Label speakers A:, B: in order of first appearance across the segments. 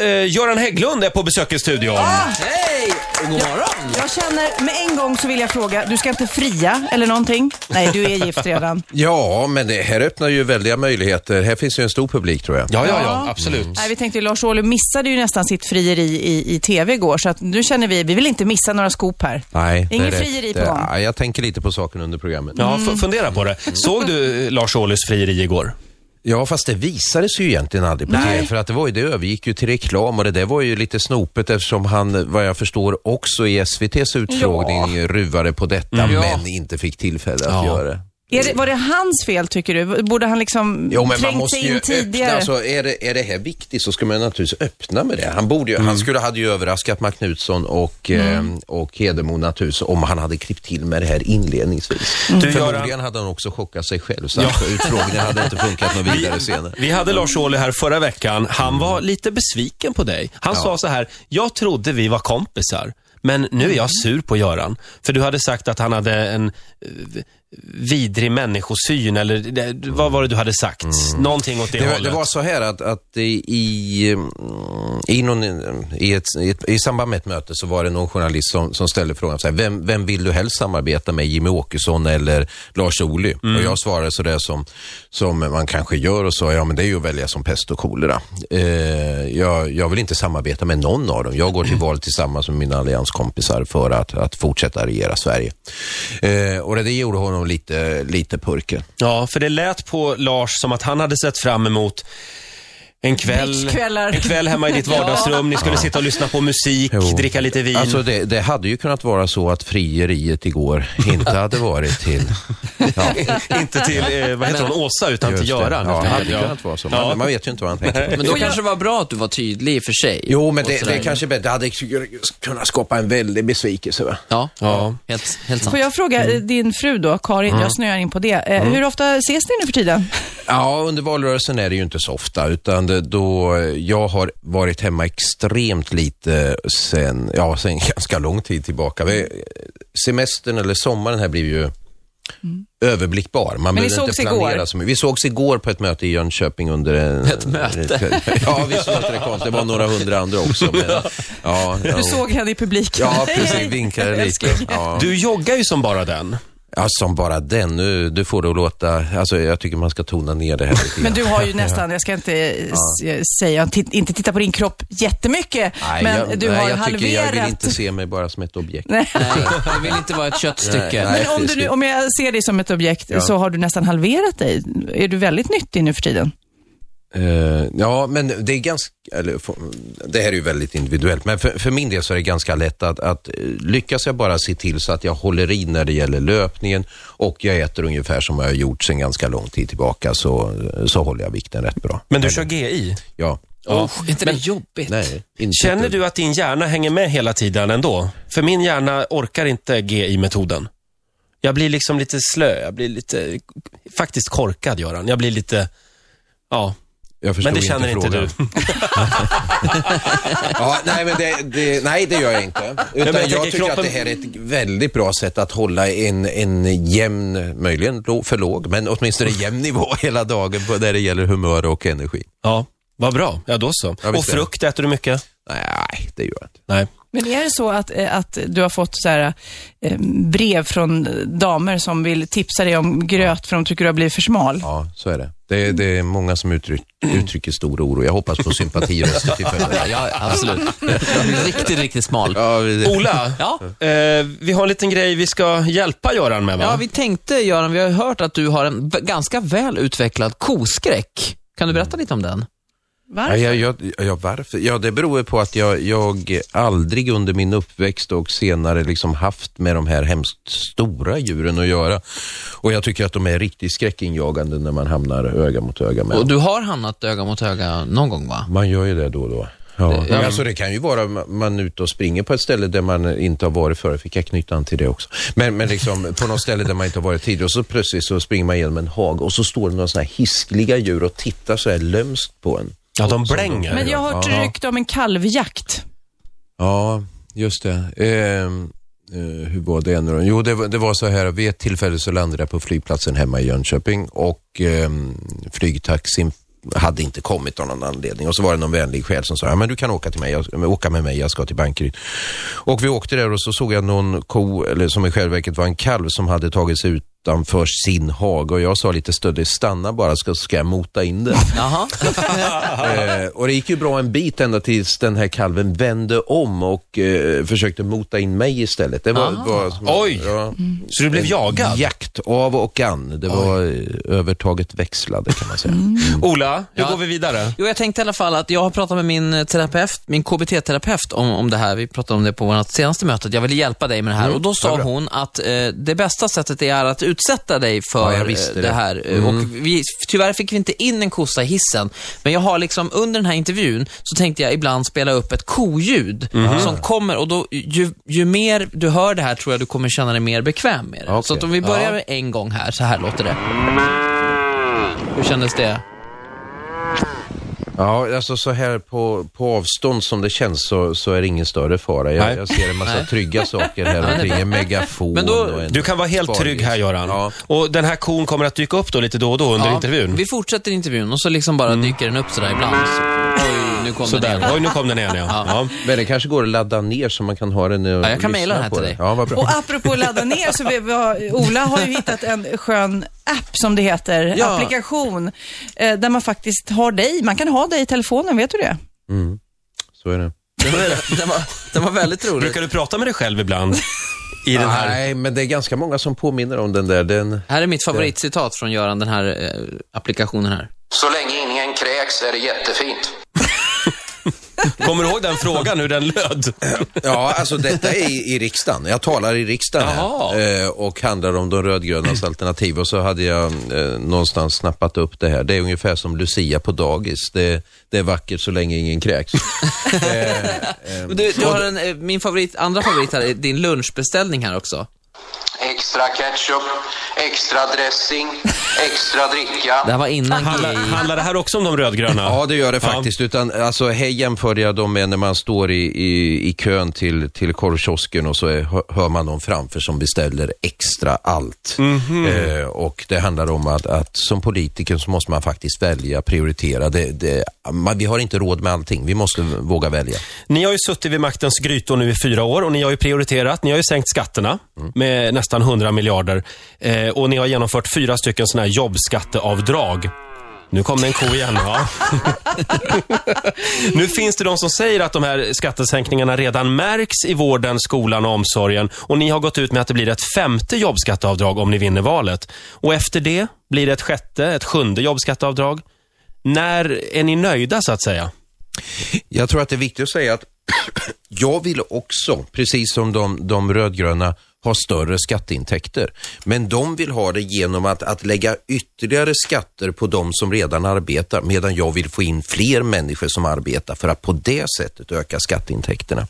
A: eh, Göran Hägglund är på besök i
B: Ah,
A: studion.
C: Hej! och God morgon!
D: Ah! Jag känner med en gång så vill jag fråga, du ska inte fria eller någonting? Nej, du är gift redan.
B: Ja, men det här öppnar ju väldiga möjligheter. Här finns ju en stor publik tror jag.
A: Ja, ja, ja, absolut.
D: Nej, vi tänkte ju, Lars Ohly missade ju nästan sitt frieri i, i tv igår, så att nu känner vi, vi vill inte missa några skop här.
B: Nej,
D: Ingen
B: det är rätt.
D: frieri på
B: Det-
D: gång. Mm.
B: Nej, Jag tänker lite på saken under programmet.
A: Ja, fu- fundera på det. Såg du eh, Lars Ohlys frieri igår?
B: Ja, fast det visades ju egentligen aldrig på tv, för att det, var ju, det övergick ju till reklam och det där var ju lite snopet eftersom han, vad jag förstår, också i SVTs utfrågning ruvade på detta,
A: Mm.
B: men inte fick tillfälle att göra det.
D: Är det, var det hans fel tycker du? Borde han liksom
B: Jo, men man
D: trängt
B: måste
D: sig
B: ju
D: in
B: öppna.
D: tidigare?
B: Alltså, är, det, är det här viktigt så ska man naturligtvis öppna med det. Han, borde ju,
A: Mm.
B: han skulle, hade ju överraskat Mark Knutsson och,
D: Mm.
B: eh, och Hedemo naturligtvis om han hade klippt till med det här inledningsvis.
A: Mm. Du,
B: Förmodligen
A: Göran-
B: hade han också chockat sig själv så att utfrågningen hade inte funkat något vidare senare.
A: Vi hade Lars Ohly här förra veckan. Han var lite besviken på dig. Han sa så här, jag trodde vi var kompisar, men nu är jag sur på Göran. För du hade sagt att han hade en eh, vidrig människosyn, eller det- vad var det du hade sagt? Någonting åt det,
B: Det, var-
A: hållet.
B: det var så här att, att i, mm, i, någon, i, ett, i, ett, i samband med ett möte så var det någon journalist som, som ställde frågan så här, vem, vem vill du helst samarbeta med, Jimmy Åkesson eller Lars Ohly?
A: Mm.
B: Och jag svarade så där som, som man kanske gör och sa, ja men det är ju att välja som pest och kolera. Eh, jag, jag vill inte samarbeta med någon av dem. Jag går till val tillsammans med mina allianskompisar för att, att fortsätta regera Sverige. Eh, och det, det gjorde honom lite, lite purken.
A: Ja, för det lät på Lars som att han hade sett fram emot en kväll,
D: Beachkvällar.
A: en kväll hemma i ditt vardagsrum. Ni skulle sitta och lyssna på musik,
B: Jo.
A: dricka lite vin.
B: Alltså det, det hade ju kunnat vara så att frieriet igår inte hade varit till... Ja,
A: Inte till, eh, vad heter hon, Åsa, utan
B: just
A: till
B: det.
A: Göran.
B: Ja, det hade
A: Ja.
B: kunnat vara så. Man,
A: Ja.
B: man vet ju inte vad han tänker på.
C: Men då kanske det var bra att du var tydlig i och för sig.
B: Jo, men det,
C: Och sådär.
B: det kanske det hade kunnat skapa en väldig besvikelse. Va?
C: Ja,
A: Ja.
C: helt, helt sant.
D: Får jag fråga
B: Mm.
D: eh, din fru då, Karin, jag snöar in på det. Eh, Hur ofta ses ni nu för tiden?
B: Ja, under valrörelsen är det ju inte så ofta, utan det- då jag har varit hemma extremt lite sen, ja, sen ganska lång tid tillbaka. Vi- Semestern eller sommaren här blir ju överblickbar. Man
D: Mm. ni
B: behöver inte
D: sågs
B: planera
D: igår?
B: så mycket. Vi sågs igår på ett möte i Jönköping under en...
C: Ett möte?
B: Ja, vi sågs det konstigt. Det var några hundra andra också. Men, ja, ja.
D: Du såg henne i publiken.
B: Ja,
D: Hej,
B: precis.
D: hej.
B: Vinkade lite.
D: Älskling.
B: Ja.
A: Du joggar ju som bara den.
B: ja, som bara den. Nu, du får det att låta... Alltså, jag tycker man ska tona ner det här lite grann.
D: Men du har ju nästan, jag ska inte eh, s- säga, tit- inte titta på din kropp jättemycket, men
B: jag,
D: du
B: nej,
D: har
B: jag Tycker jag
D: halverat.
B: vill inte se mig bara som ett objekt.
D: Nej.
C: Nej, jag vill inte vara ett
B: Nej,
C: köttstycke.
D: Men om, du
B: precis.
D: nu, om jag ser dig som ett objekt så har du nästan halverat dig. Är du väldigt nyttig nu för tiden?
B: Eh, ja, men det är ganska, eller, få- det här är ju väldigt individuellt, men för, för min del så är det ganska lätt att, att eh, lyckas jag bara se till så att jag håller i när det gäller löpningen och jag äter ungefär som jag har gjort sedan ganska lång tid tillbaka så, så håller jag vikten rätt bra.
A: Men du kör GI.
B: Ja,
C: Usch, Oh, är inte det jobbigt?
B: nej. Inte
A: Känner du att din hjärna hänger med hela tiden ändå? För min hjärna orkar inte GI-metoden. Jag blir liksom lite slö, jag blir lite, faktiskt korkad Göran. Jag blir lite, ja,
B: Jag förstår
A: men det känner inte,
B: frågan.
A: du.
B: Ja, nej, men det, det, nej, det gör jag inte. Utan
A: jag
B: jag,
A: tänker
B: tycker
A: kroppen-
B: att det här är ett väldigt bra sätt att hålla en, en jämn, möjligen lå- för låg, men åtminstone jämn nivå hela dagen på, när det gäller humör och energi.
A: Ja, vad bra. Ja, då så.
B: Ja,
A: Och
B: visst är det.
A: frukt, äter du mycket?
B: Nej, det gör jag inte.
A: Nej.
D: Men är det så att, eh, att du har fått så här, eh, brev från damer som vill tipsa dig om gröt för de tycker du har blivit för smal?
B: Ja, så är det. Det, är- det är många som uttryck, uttrycker stor oro. Jag hoppas på sympatiröster till följd.
C: Ja, absolut. Jag blir riktigt, riktigt smal.
B: Ja, det-
A: Ola,
C: Ja.
A: eh, vi har en liten grej vi ska hjälpa Göran med va?
C: Ja, vi tänkte Göran, vi har ju hört att du har en v- ganska väl utvecklad koskräck. Kan du berätta lite om den?
B: Ja,
D: Varför?
B: jag, jag, ja, varför? Ja, det beror på att jag, jag aldrig under min uppväxt och senare liksom haft med de här hemskt stora djuren att göra. Och jag tycker att de är riktigt skräckinjagande när man hamnar öga mot öga med
C: Och
B: dem.
C: du har hamnat öga mot öga någon gång va?
B: Man gör ju det då och då. Ja. Men Alltså det kan ju vara ma- man är ute och springer på ett ställe där man inte har varit förut. Fick jag knyta an till det också. Men, men liksom på något ställe där man inte har varit tidigare och så plötsligt så springer man genom en hage och så står det några sådana här hiskliga djur och tittar så här lömskt på en.
A: Ja, de blänger.
D: Men jag har hört rykte om en kalvjakt.
B: Ja, just det. Ehm, eh, hur var det nu då? Jo, det var, det var så här, vid ett tillfälle så landade jag på flygplatsen hemma i Jönköping och ehm, flygtaxin hade inte kommit av någon anledning. Och så var det någon vänlig själ som sa, ja, men du kan åka, till mig, jag, åka med mig, jag ska till Bankeryd. Och vi åkte där och så såg jag någon ko, eller som i själva verket var en kalv, som hade tagit sig utanför sin hage och jag sa lite stöddigt, stanna bara så ska jag mota in den.
C: Jaha.
B: Eh, och det gick ju bra en bit ända tills den här kalven vände om och eh, försökte mota in mig istället. Det var,
C: Ah.
B: var som-
A: Oj.
B: Ja,
A: Så du blev jagad?
B: Jakt av och an. Det var eh, övertaget växlade kan man säga.
C: Mm.
A: Ola, hur
C: Ja.
A: går vi vidare?
C: Jo, jag tänkte i alla fall att jag har pratat med min eh, terapeut, min KBT-terapeut om, om det här. Vi pratade om det på vårt senaste möte. att Jag ville hjälpa dig med det här
B: Mm.
C: och då sa hon att eh, det bästa sättet är att utsätta dig för
B: Ja, jag
C: eh,
B: visste
C: det.
B: det. Mm.
C: här. Eh, Och vi, tyvärr fick vi inte in en kossa i hissen, men jag har liksom under den här intervjun så tänkte jag ibland spela upp ett koljud
B: Mm-hmm.
C: som kommer och då ju, ju mer du hör det här tror jag du kommer känna dig mer bekväm med det.
B: Okej.
C: Så att om vi börjar
A: Ja.
C: med en gång här, så här låter det. Hur kändes det?
B: Ja, alltså så här på, på avstånd som det känns så, så är det ingen större fara. Jag,
A: Nej.
B: jag ser en massa trygga saker här omkring. En megafon
C: Men då-
B: och en...
A: Du kan vara helt
B: Spargris.
A: trygg här, Göran.
B: Ja.
A: Och den här kon kommer att dyka upp då lite då och då under
C: Ja,
A: intervjun. Mm.
C: Vi fortsätter intervjun och så liksom bara dyker den upp sådär ibland. Så, oj, nu kom den
A: Sådär,
C: igen.
A: oj nu kom den igen ja. ja.
B: Men det kanske går att ladda ner så man kan ha den eh, och
C: Ja, jag kan
B: lyssna
C: mejla den här
B: på
C: till dig.
B: Ja, vad bra.
D: Och apropå ladda ner, så vi, vi har, Ola har ju hittat en skön app som det heter,
C: Ja.
D: applikation, eh, där man faktiskt har dig. Man kan ha dig i telefonen, vet du det?
B: Så är det.
C: Den var, den, var, den var väldigt rolig.
A: Brukar du prata med dig själv ibland? I den här...
B: Nej, men det är ganska många som påminner om den där. Den...
C: Här är mitt favoritcitat från Göran, den här eh, applikationen här.
E: Så länge ingen kräks är det jättefint.
A: Kommer du ihåg den frågan, hur den löd?
B: Ja, alltså detta är i, i riksdagen. Jag talar i riksdagen här, eh, och handlar om de rödgrönas alternativ. Och så hade jag eh, någonstans snappat upp det här. Det är ungefär som Lucia på dagis. Det, det är vackert så länge ingen kräks.
C: Men Du, du har en, eh, min favorit, andra favorit här, är din lunchbeställning här också.
E: Extra ketchup, extra dressing, extra dricka.
C: Det här var innan
A: Handlar,
C: gay.
A: handlar det här också om de rödgröna?
B: Ja, det gör det faktiskt. Utan, alltså, här jämförde jag dem med när man står i, i, i kön till, till korvkiosken och så är, hör- hör man någon framför som beställer extra allt. Eh, och det handlar om att, att som politiker så måste man faktiskt välja, prioritera. Det, det, man, vi har inte råd med allting. Vi måste våga välja.
A: Ni har ju suttit vid maktens grytor nu i fyra år och ni har ju prioriterat. Ni har ju sänkt skatterna med nästan 100 miljarder. Eh, och ni har genomfört fyra stycken sådana här jobbskatteavdrag. Nu kom det en ko igen. Ja. nu finns det de som säger att de här skattesänkningarna redan märks i vården, skolan och omsorgen. Och ni har gått ut med att det blir ett femte jobbskatteavdrag om ni vinner valet. Och efter det blir det ett sjätte, ett sjunde jobbskatteavdrag. När är ni nöjda så att säga?
B: Jag tror att det är viktigt att säga att jag vill också, precis som de, de rödgröna, ha större skatteintäkter. Men de vill ha det genom att, att lägga ytterligare skatter på de som redan arbetar, medan jag vill få in fler människor som arbetar för att på det sättet öka skatteintäkterna.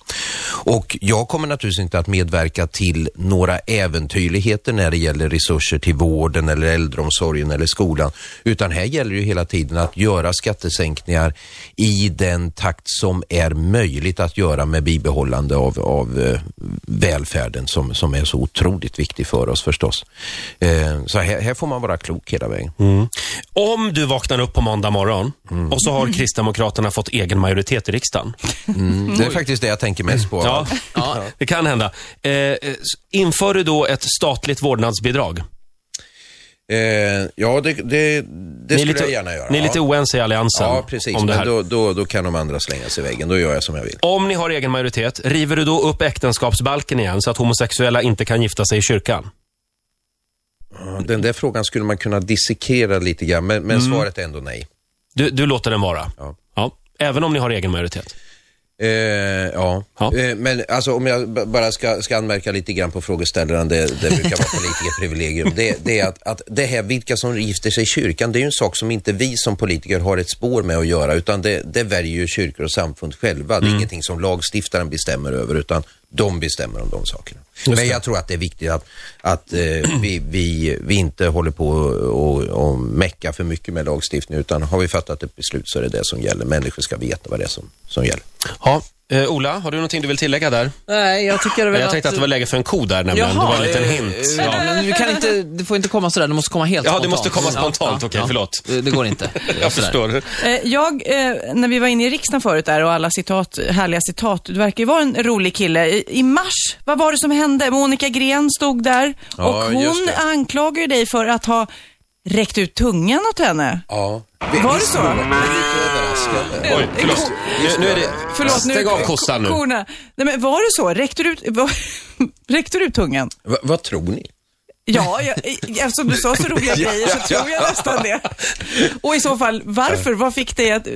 B: Och jag kommer naturligtvis inte att medverka till några äventyrligheter när det gäller resurser till vården eller äldreomsorgen eller skolan, utan här gäller ju hela tiden att göra skattesänkningar i den takt som är möjligt att göra med bibehållande av, av eh, välfärden som, som är så otroligt viktig för oss förstås. Eh, så här, här får man vara klok hela vägen.
A: Om du vaknar upp på måndag morgon och så har Kristdemokraterna fått egen majoritet i riksdagen.
B: Det är faktiskt det jag tänker mest på.
A: Mm. Ja, det kan hända. Eh, eh, s- inför du då ett statligt vårdnadsbidrag?
B: Eh, ja det, det, det skulle jag gärna göra.
A: Ni är lite
B: ja.
A: oense i Alliansen
B: Ja, precis.
A: om det
B: Men
A: här.
B: då, då, då kan de andra slänga sig i väggen. Då gör jag som jag vill.
A: Om ni har egen majoritet, river du då upp äktenskapsbalken igen så att homosexuella inte kan gifta sig i kyrkan?
B: Den där frågan skulle man kunna dissekera lite grann, men, men svaret är ändå nej.
A: Du, du låter den vara?
B: Ja.
A: Även om ni har egen majoritet?
B: Eh, ja,
A: Ja.
B: Eh, men alltså om jag b- bara ska, ska anmärka lite grann på frågeställaren, det, det brukar vara politikerprivilegium, det, det är att, att det här vilka som gifter sig i kyrkan, det är ju en sak som inte vi som politiker har ett spår med att göra, utan det, det väljer ju kyrkor och samfund själva. Det är ingenting som lagstiftaren bestämmer över, utan de bestämmer om de sakerna. men jag tror att det är viktigt att, att eh, vi, vi, vi inte håller på och, och mecka för mycket med lagstiftning, utan har vi fattat ett beslut så är det det som gäller. Människor ska veta vad det är som, som gäller.
A: Ja. Eh, Ola, har du någonting du vill tillägga där?
C: Nej, jag tycker väl
A: Jag tänkte att det var läge för en ko där nämligen. det var en liten
C: eh,
A: hint.
C: eh,
A: Ja.
C: men du kan inte, det får inte komma sådär, det måste komma helt
A: Ja, det
C: spontant.
A: måste komma spontant. Okej, förlåt.
C: Det, det går inte.
A: Jag
C: Sådär.
A: förstår.
D: Eh, Jag, eh, när vi var inne i riksdagen förut där och alla citat, härliga citat. Du verkar ju vara en rolig kille. I, i mars, vad var det som hände? Monica Gren stod där
B: Ja,
D: och hon
B: just det.
D: anklagar ju dig för att ha räckt ut tungan åt henne.
B: Ja.
D: Var det så?
B: Jag blev lite överraskad.
A: Oj, förlåt. Nu, nu är det...
D: Förlåt, nu,
A: Stäng av kossan nu.
D: Korna. Nej, men var det så? Räckte du ut, var, räckte du ut tungan?
B: Va- vad tror ni?
D: Ja, jag, eftersom du sa så roliga grejer så tror jag nästan det. Och i så fall, varför? Vad fick dig att eh,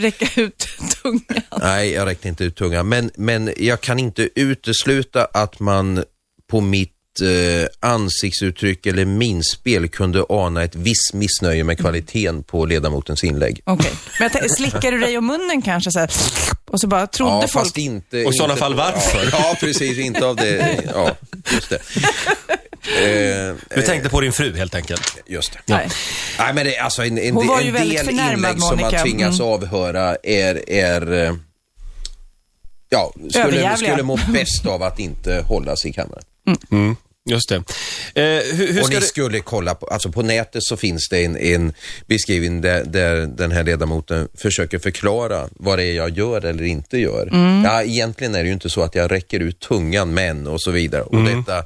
D: räcka ut tungan?
B: Nej, jag räckte inte ut tungan. Men, men jag kan inte utesluta att man på mitt eh, ansiktsuttryck eller minspel kunde ana ett visst missnöje med kvaliteten på ledamotens inlägg.
D: Okej, men jag tänkte, slickar du dig om munnen kanske så här, och så bara trodde
B: Ja,
D: folk...
B: fast inte...
A: Och i sådana
B: inte-
A: fall varför?
B: Ja, ja, precis. Inte av det. Ja, just det. Eh,
A: Du tänkte på din fru helt enkelt.
B: Just det.
D: Nej.
B: Nej, men det, är alltså en, en,
D: Hon var ju
B: en
D: väldigt
B: del
D: förnärmad,
B: inlägg som man
D: Monica.
B: tvingas
D: Mm.
B: avhöra är, är eh, ja, skulle,
D: Överjävliga.
B: skulle må bäst av att inte hållas i kammaren.
A: Just det. Eh, hur, hur
B: Och
A: ska
B: ni
A: du...
B: skulle kolla på, alltså på nätet så finns det en, en beskrivning där, där den här ledamoten försöker förklara vad det är jag gör eller inte gör.
D: Mm.
B: Ja, egentligen är det ju inte så att jag räcker ut tungan men och så vidare. Och
D: Mm.
B: detta,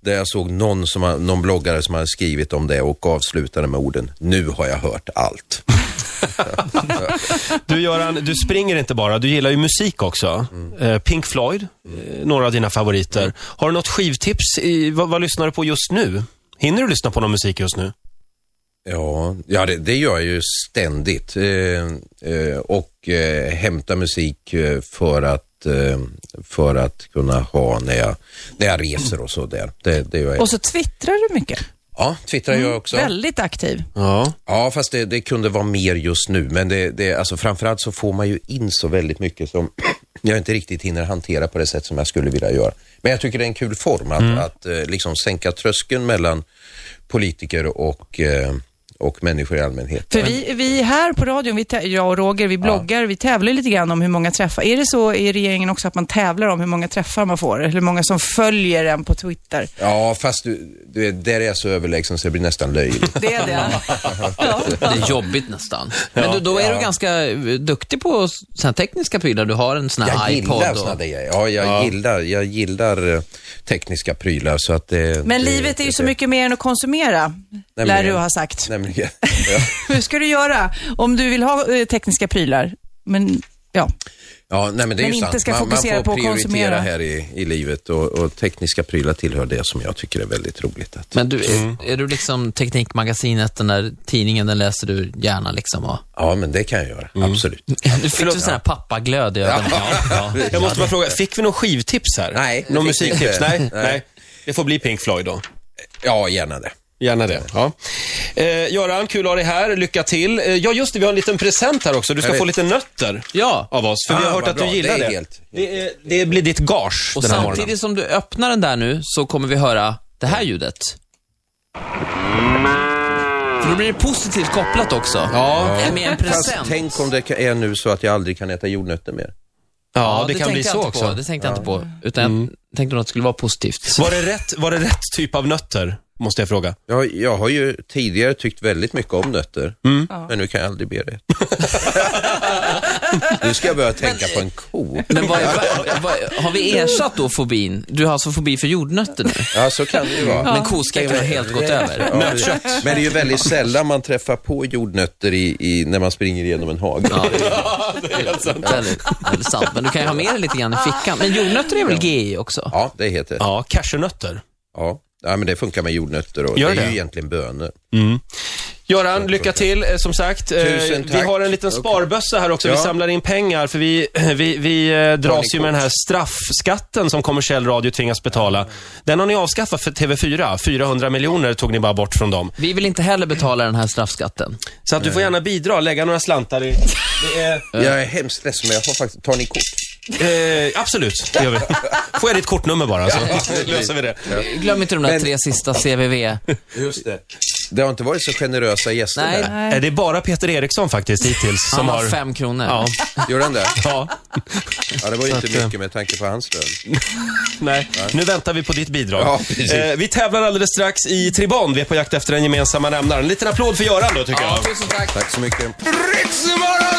B: där jag såg någon, som har, någon bloggare som hade skrivit om det och avslutade med orden nu har jag hört allt.
A: Du Göran, du springer inte bara, du gillar ju musik också. Eh, Pink Floyd, eh, några av dina favoriter. Har du något skivtips? I, vad, vad lyssnar du på just nu? Hinner du lyssna på någon musik just nu?
B: Ja, ja det, det gör jag ju ständigt. Eh, eh, och eh, hämtar musik eh, för att, eh, för att kunna ha när jag, när jag reser och så där. Det, det gör jag.
D: Och så Mm, twittrar du mycket.
B: Ja, twittrar jag också.
D: Väldigt aktiv.
A: Ja.
B: Ja, fast det, det kunde vara mer just nu. Men det, det, alltså framförallt så får man ju in så väldigt mycket som jag inte riktigt hinner hantera på det sätt som jag skulle vilja göra. Men jag tycker det är en kul form att, att, eh, liksom sänka tröskeln mellan politiker och, eh, och människor i allmänhet.
D: För vi, vi här på radion, vi, tä- jag och Roger, vi bloggar, vi tävlar lite grann om hur många träffar. Är det så i regeringen också att man tävlar om hur många träffar man får? Eller hur många som följer en på Twitter?
B: Ja, fast du, du, är- där är jag så överlägsen så det blir nästan löjligt.
D: Det är det. ja.
C: Det är jobbigt nästan. Men du, då är du ganska eh, duktig på såna här tekniska prylar. Du har en sån här
B: Jag
C: iPod.
B: gillar
C: och-
B: sådana där grejer. Ja, jag, Gillar, jag gillar eh, tekniska prylar så att det,
D: Men
B: det,
D: livet är ju
B: det-
D: så mycket mer än att konsumera, lär
B: Nämligen.
D: du ha sagt.
B: Nämligen. Ja.
D: Hur ska du göra om du vill ha eh, tekniska prylar? Men, ja.
B: Ja, nej, men det är
D: Men
B: ju
D: inte
B: sant.
D: ska
B: man, man
D: fokusera
B: får
D: på att
B: prioritera
D: konsumera.
B: här i, i livet och, och tekniska prylar tillhör det som jag tycker är väldigt roligt. Att,
C: Men du, är, är du liksom Teknikmagasinet, den där tidningen, den läser du gärna liksom? Och...
B: ja, men det kan jag göra. Absolut.
C: Nu fick du sån här pappaglöd i ögonen. Ja, ja.
A: Jag måste bara fråga, fick vi någon skivtips här?
B: Nej,
A: Någon
B: det fick vi
A: musiktips?
B: inte.
A: Nej, nej. Det får bli Pink Floyd då.
B: Ja, gärna det.
A: Gärna det. Ja. Eh, Göran, kul att ha dig här. Lycka till. Eh, ja, just det, vi har en liten present här också. Du ska
B: Jag
A: få
B: vet.
A: lite nötter
C: Ja.
A: av oss. För vi har
B: Ah,
A: hört
B: vad
A: att du
B: bra.
A: gillar
B: Det
A: det.
B: är helt-
A: Det, är, det blir ditt gage
C: Och
A: den här
C: samtidigt
A: morgonen.
C: som du öppnar den där nu så kommer vi höra det här ljudet. För då blir det positivt kopplat också.
A: Ja.
C: Med en
B: Fast
C: present.
B: tänk om det ka- är nu så att jag aldrig kan äta jordnötter mer.
A: Ja, det, kan
C: tänkte
A: bli
C: jag
A: så
C: inte
A: också. Mm.
C: På, det tänkte jag inte på. Utan jag tänkte nog att det skulle vara positivt.
A: Var, det rätt, var det rätt typ av nötter? Måste jag fråga.
B: Jag, jag har ju tidigare tyckt väldigt mycket om nötter, men nu kan jag aldrig be det. nu ska jag börja tänka på en ko.
C: Men vad, vad, vad, har vi ersatt då fobin? Du har alltså fobi för jordnötter nu?
B: Ja, så kan det ju vara.
C: Men koskräcken har helt gått över.
B: Ja, men det är ju väldigt sällan man träffar på jordnötter i, i, när man springer igenom en hage.
C: Ja, det är väldigt, väldigt sant. Men du kan ju ha med dig lite grann i fickan. Men jordnötter är väl GI också?
B: Ja, det heter det.
A: Ja, cashewnötter.
B: Ja. ja, men det funkar med jordnötter och
A: Gör
B: det är
A: det?
B: ju egentligen bönor.
A: Göran, lycka till eh, som sagt. Eh,
B: Tusen
A: Vi
B: tack.
A: har en liten sparbössa här också. Vi
B: Ja.
A: samlar in pengar för vi, vi, vi eh, dras ju med den här straffskatten som kommersiell radio tvingas betala. Den har ni avskaffat för TV4. 400 miljoner tog ni bara bort från dem.
C: Vi vill inte heller betala den här straffskatten.
A: Så att du får gärna bidra, lägga några slantar i... Det är,
B: Jag är hemskt ledsen, men jag har faktiskt... Tar ni kort?
A: eh, absolut, det gör vi. Får jag ditt kortnummer bara så löser vi det.
C: Glöm inte de där tre sista CVV.
B: Just det. Det har inte varit så generösa gäster
C: Nej.
B: där.
A: Eh, Det är bara Peter Eriksson faktiskt hittills
C: Han
A: som
C: har
A: har...
C: fem kronor.
A: Ja.
B: Gjorde han det?
A: ja.
B: Ja, det var ju
A: Så
B: inte
A: att, eh,
B: mycket med tanke på hans lön.
A: Nej, nu väntar vi på ditt bidrag.
B: Ja, precis.
A: Eh, vi tävlar alldeles strax i Tribon. Vi är på jakt efter den gemensamma nämnaren. En liten applåd för Göran då, tycker jag.
C: Tusen tack.
B: Tack så mycket.
A: Riksmorgon!